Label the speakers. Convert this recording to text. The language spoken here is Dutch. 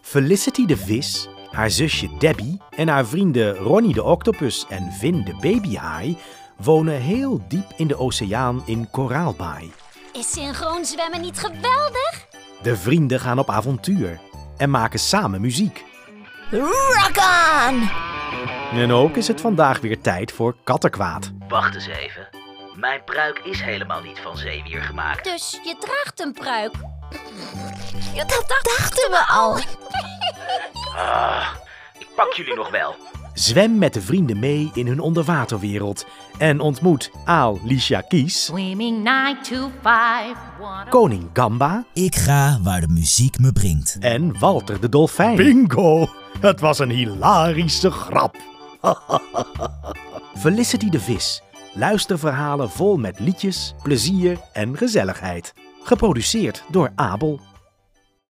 Speaker 1: Felicity de vis, haar zusje Debbie en haar vrienden Ronnie de octopus en Vin de babyhaai wonen heel diep in de oceaan in Koraalbaai.
Speaker 2: Is synchroon zwemmen niet geweldig?
Speaker 1: De vrienden gaan op avontuur en maken samen muziek.
Speaker 2: Rock on!
Speaker 1: En ook is het vandaag weer tijd voor kattenkwaad.
Speaker 3: Wacht eens even. Mijn pruik is helemaal niet van zeewier gemaakt.
Speaker 2: Dus je draagt een pruik.
Speaker 4: Dat dachten we al.
Speaker 3: Ah, ik pak jullie nog wel.
Speaker 1: Zwem met de vrienden mee in hun onderwaterwereld en ontmoet Aal Licia Kies,
Speaker 5: Swimming nine to five. One
Speaker 1: Koning Gamba
Speaker 6: Ik ga waar de muziek me brengt.
Speaker 1: en Walter de Dolfijn.
Speaker 7: Bingo! Het was een hilarische grap.
Speaker 1: Felicity de Vis. Luisterverhalen vol met liedjes, plezier en gezelligheid. Geproduceerd door Abel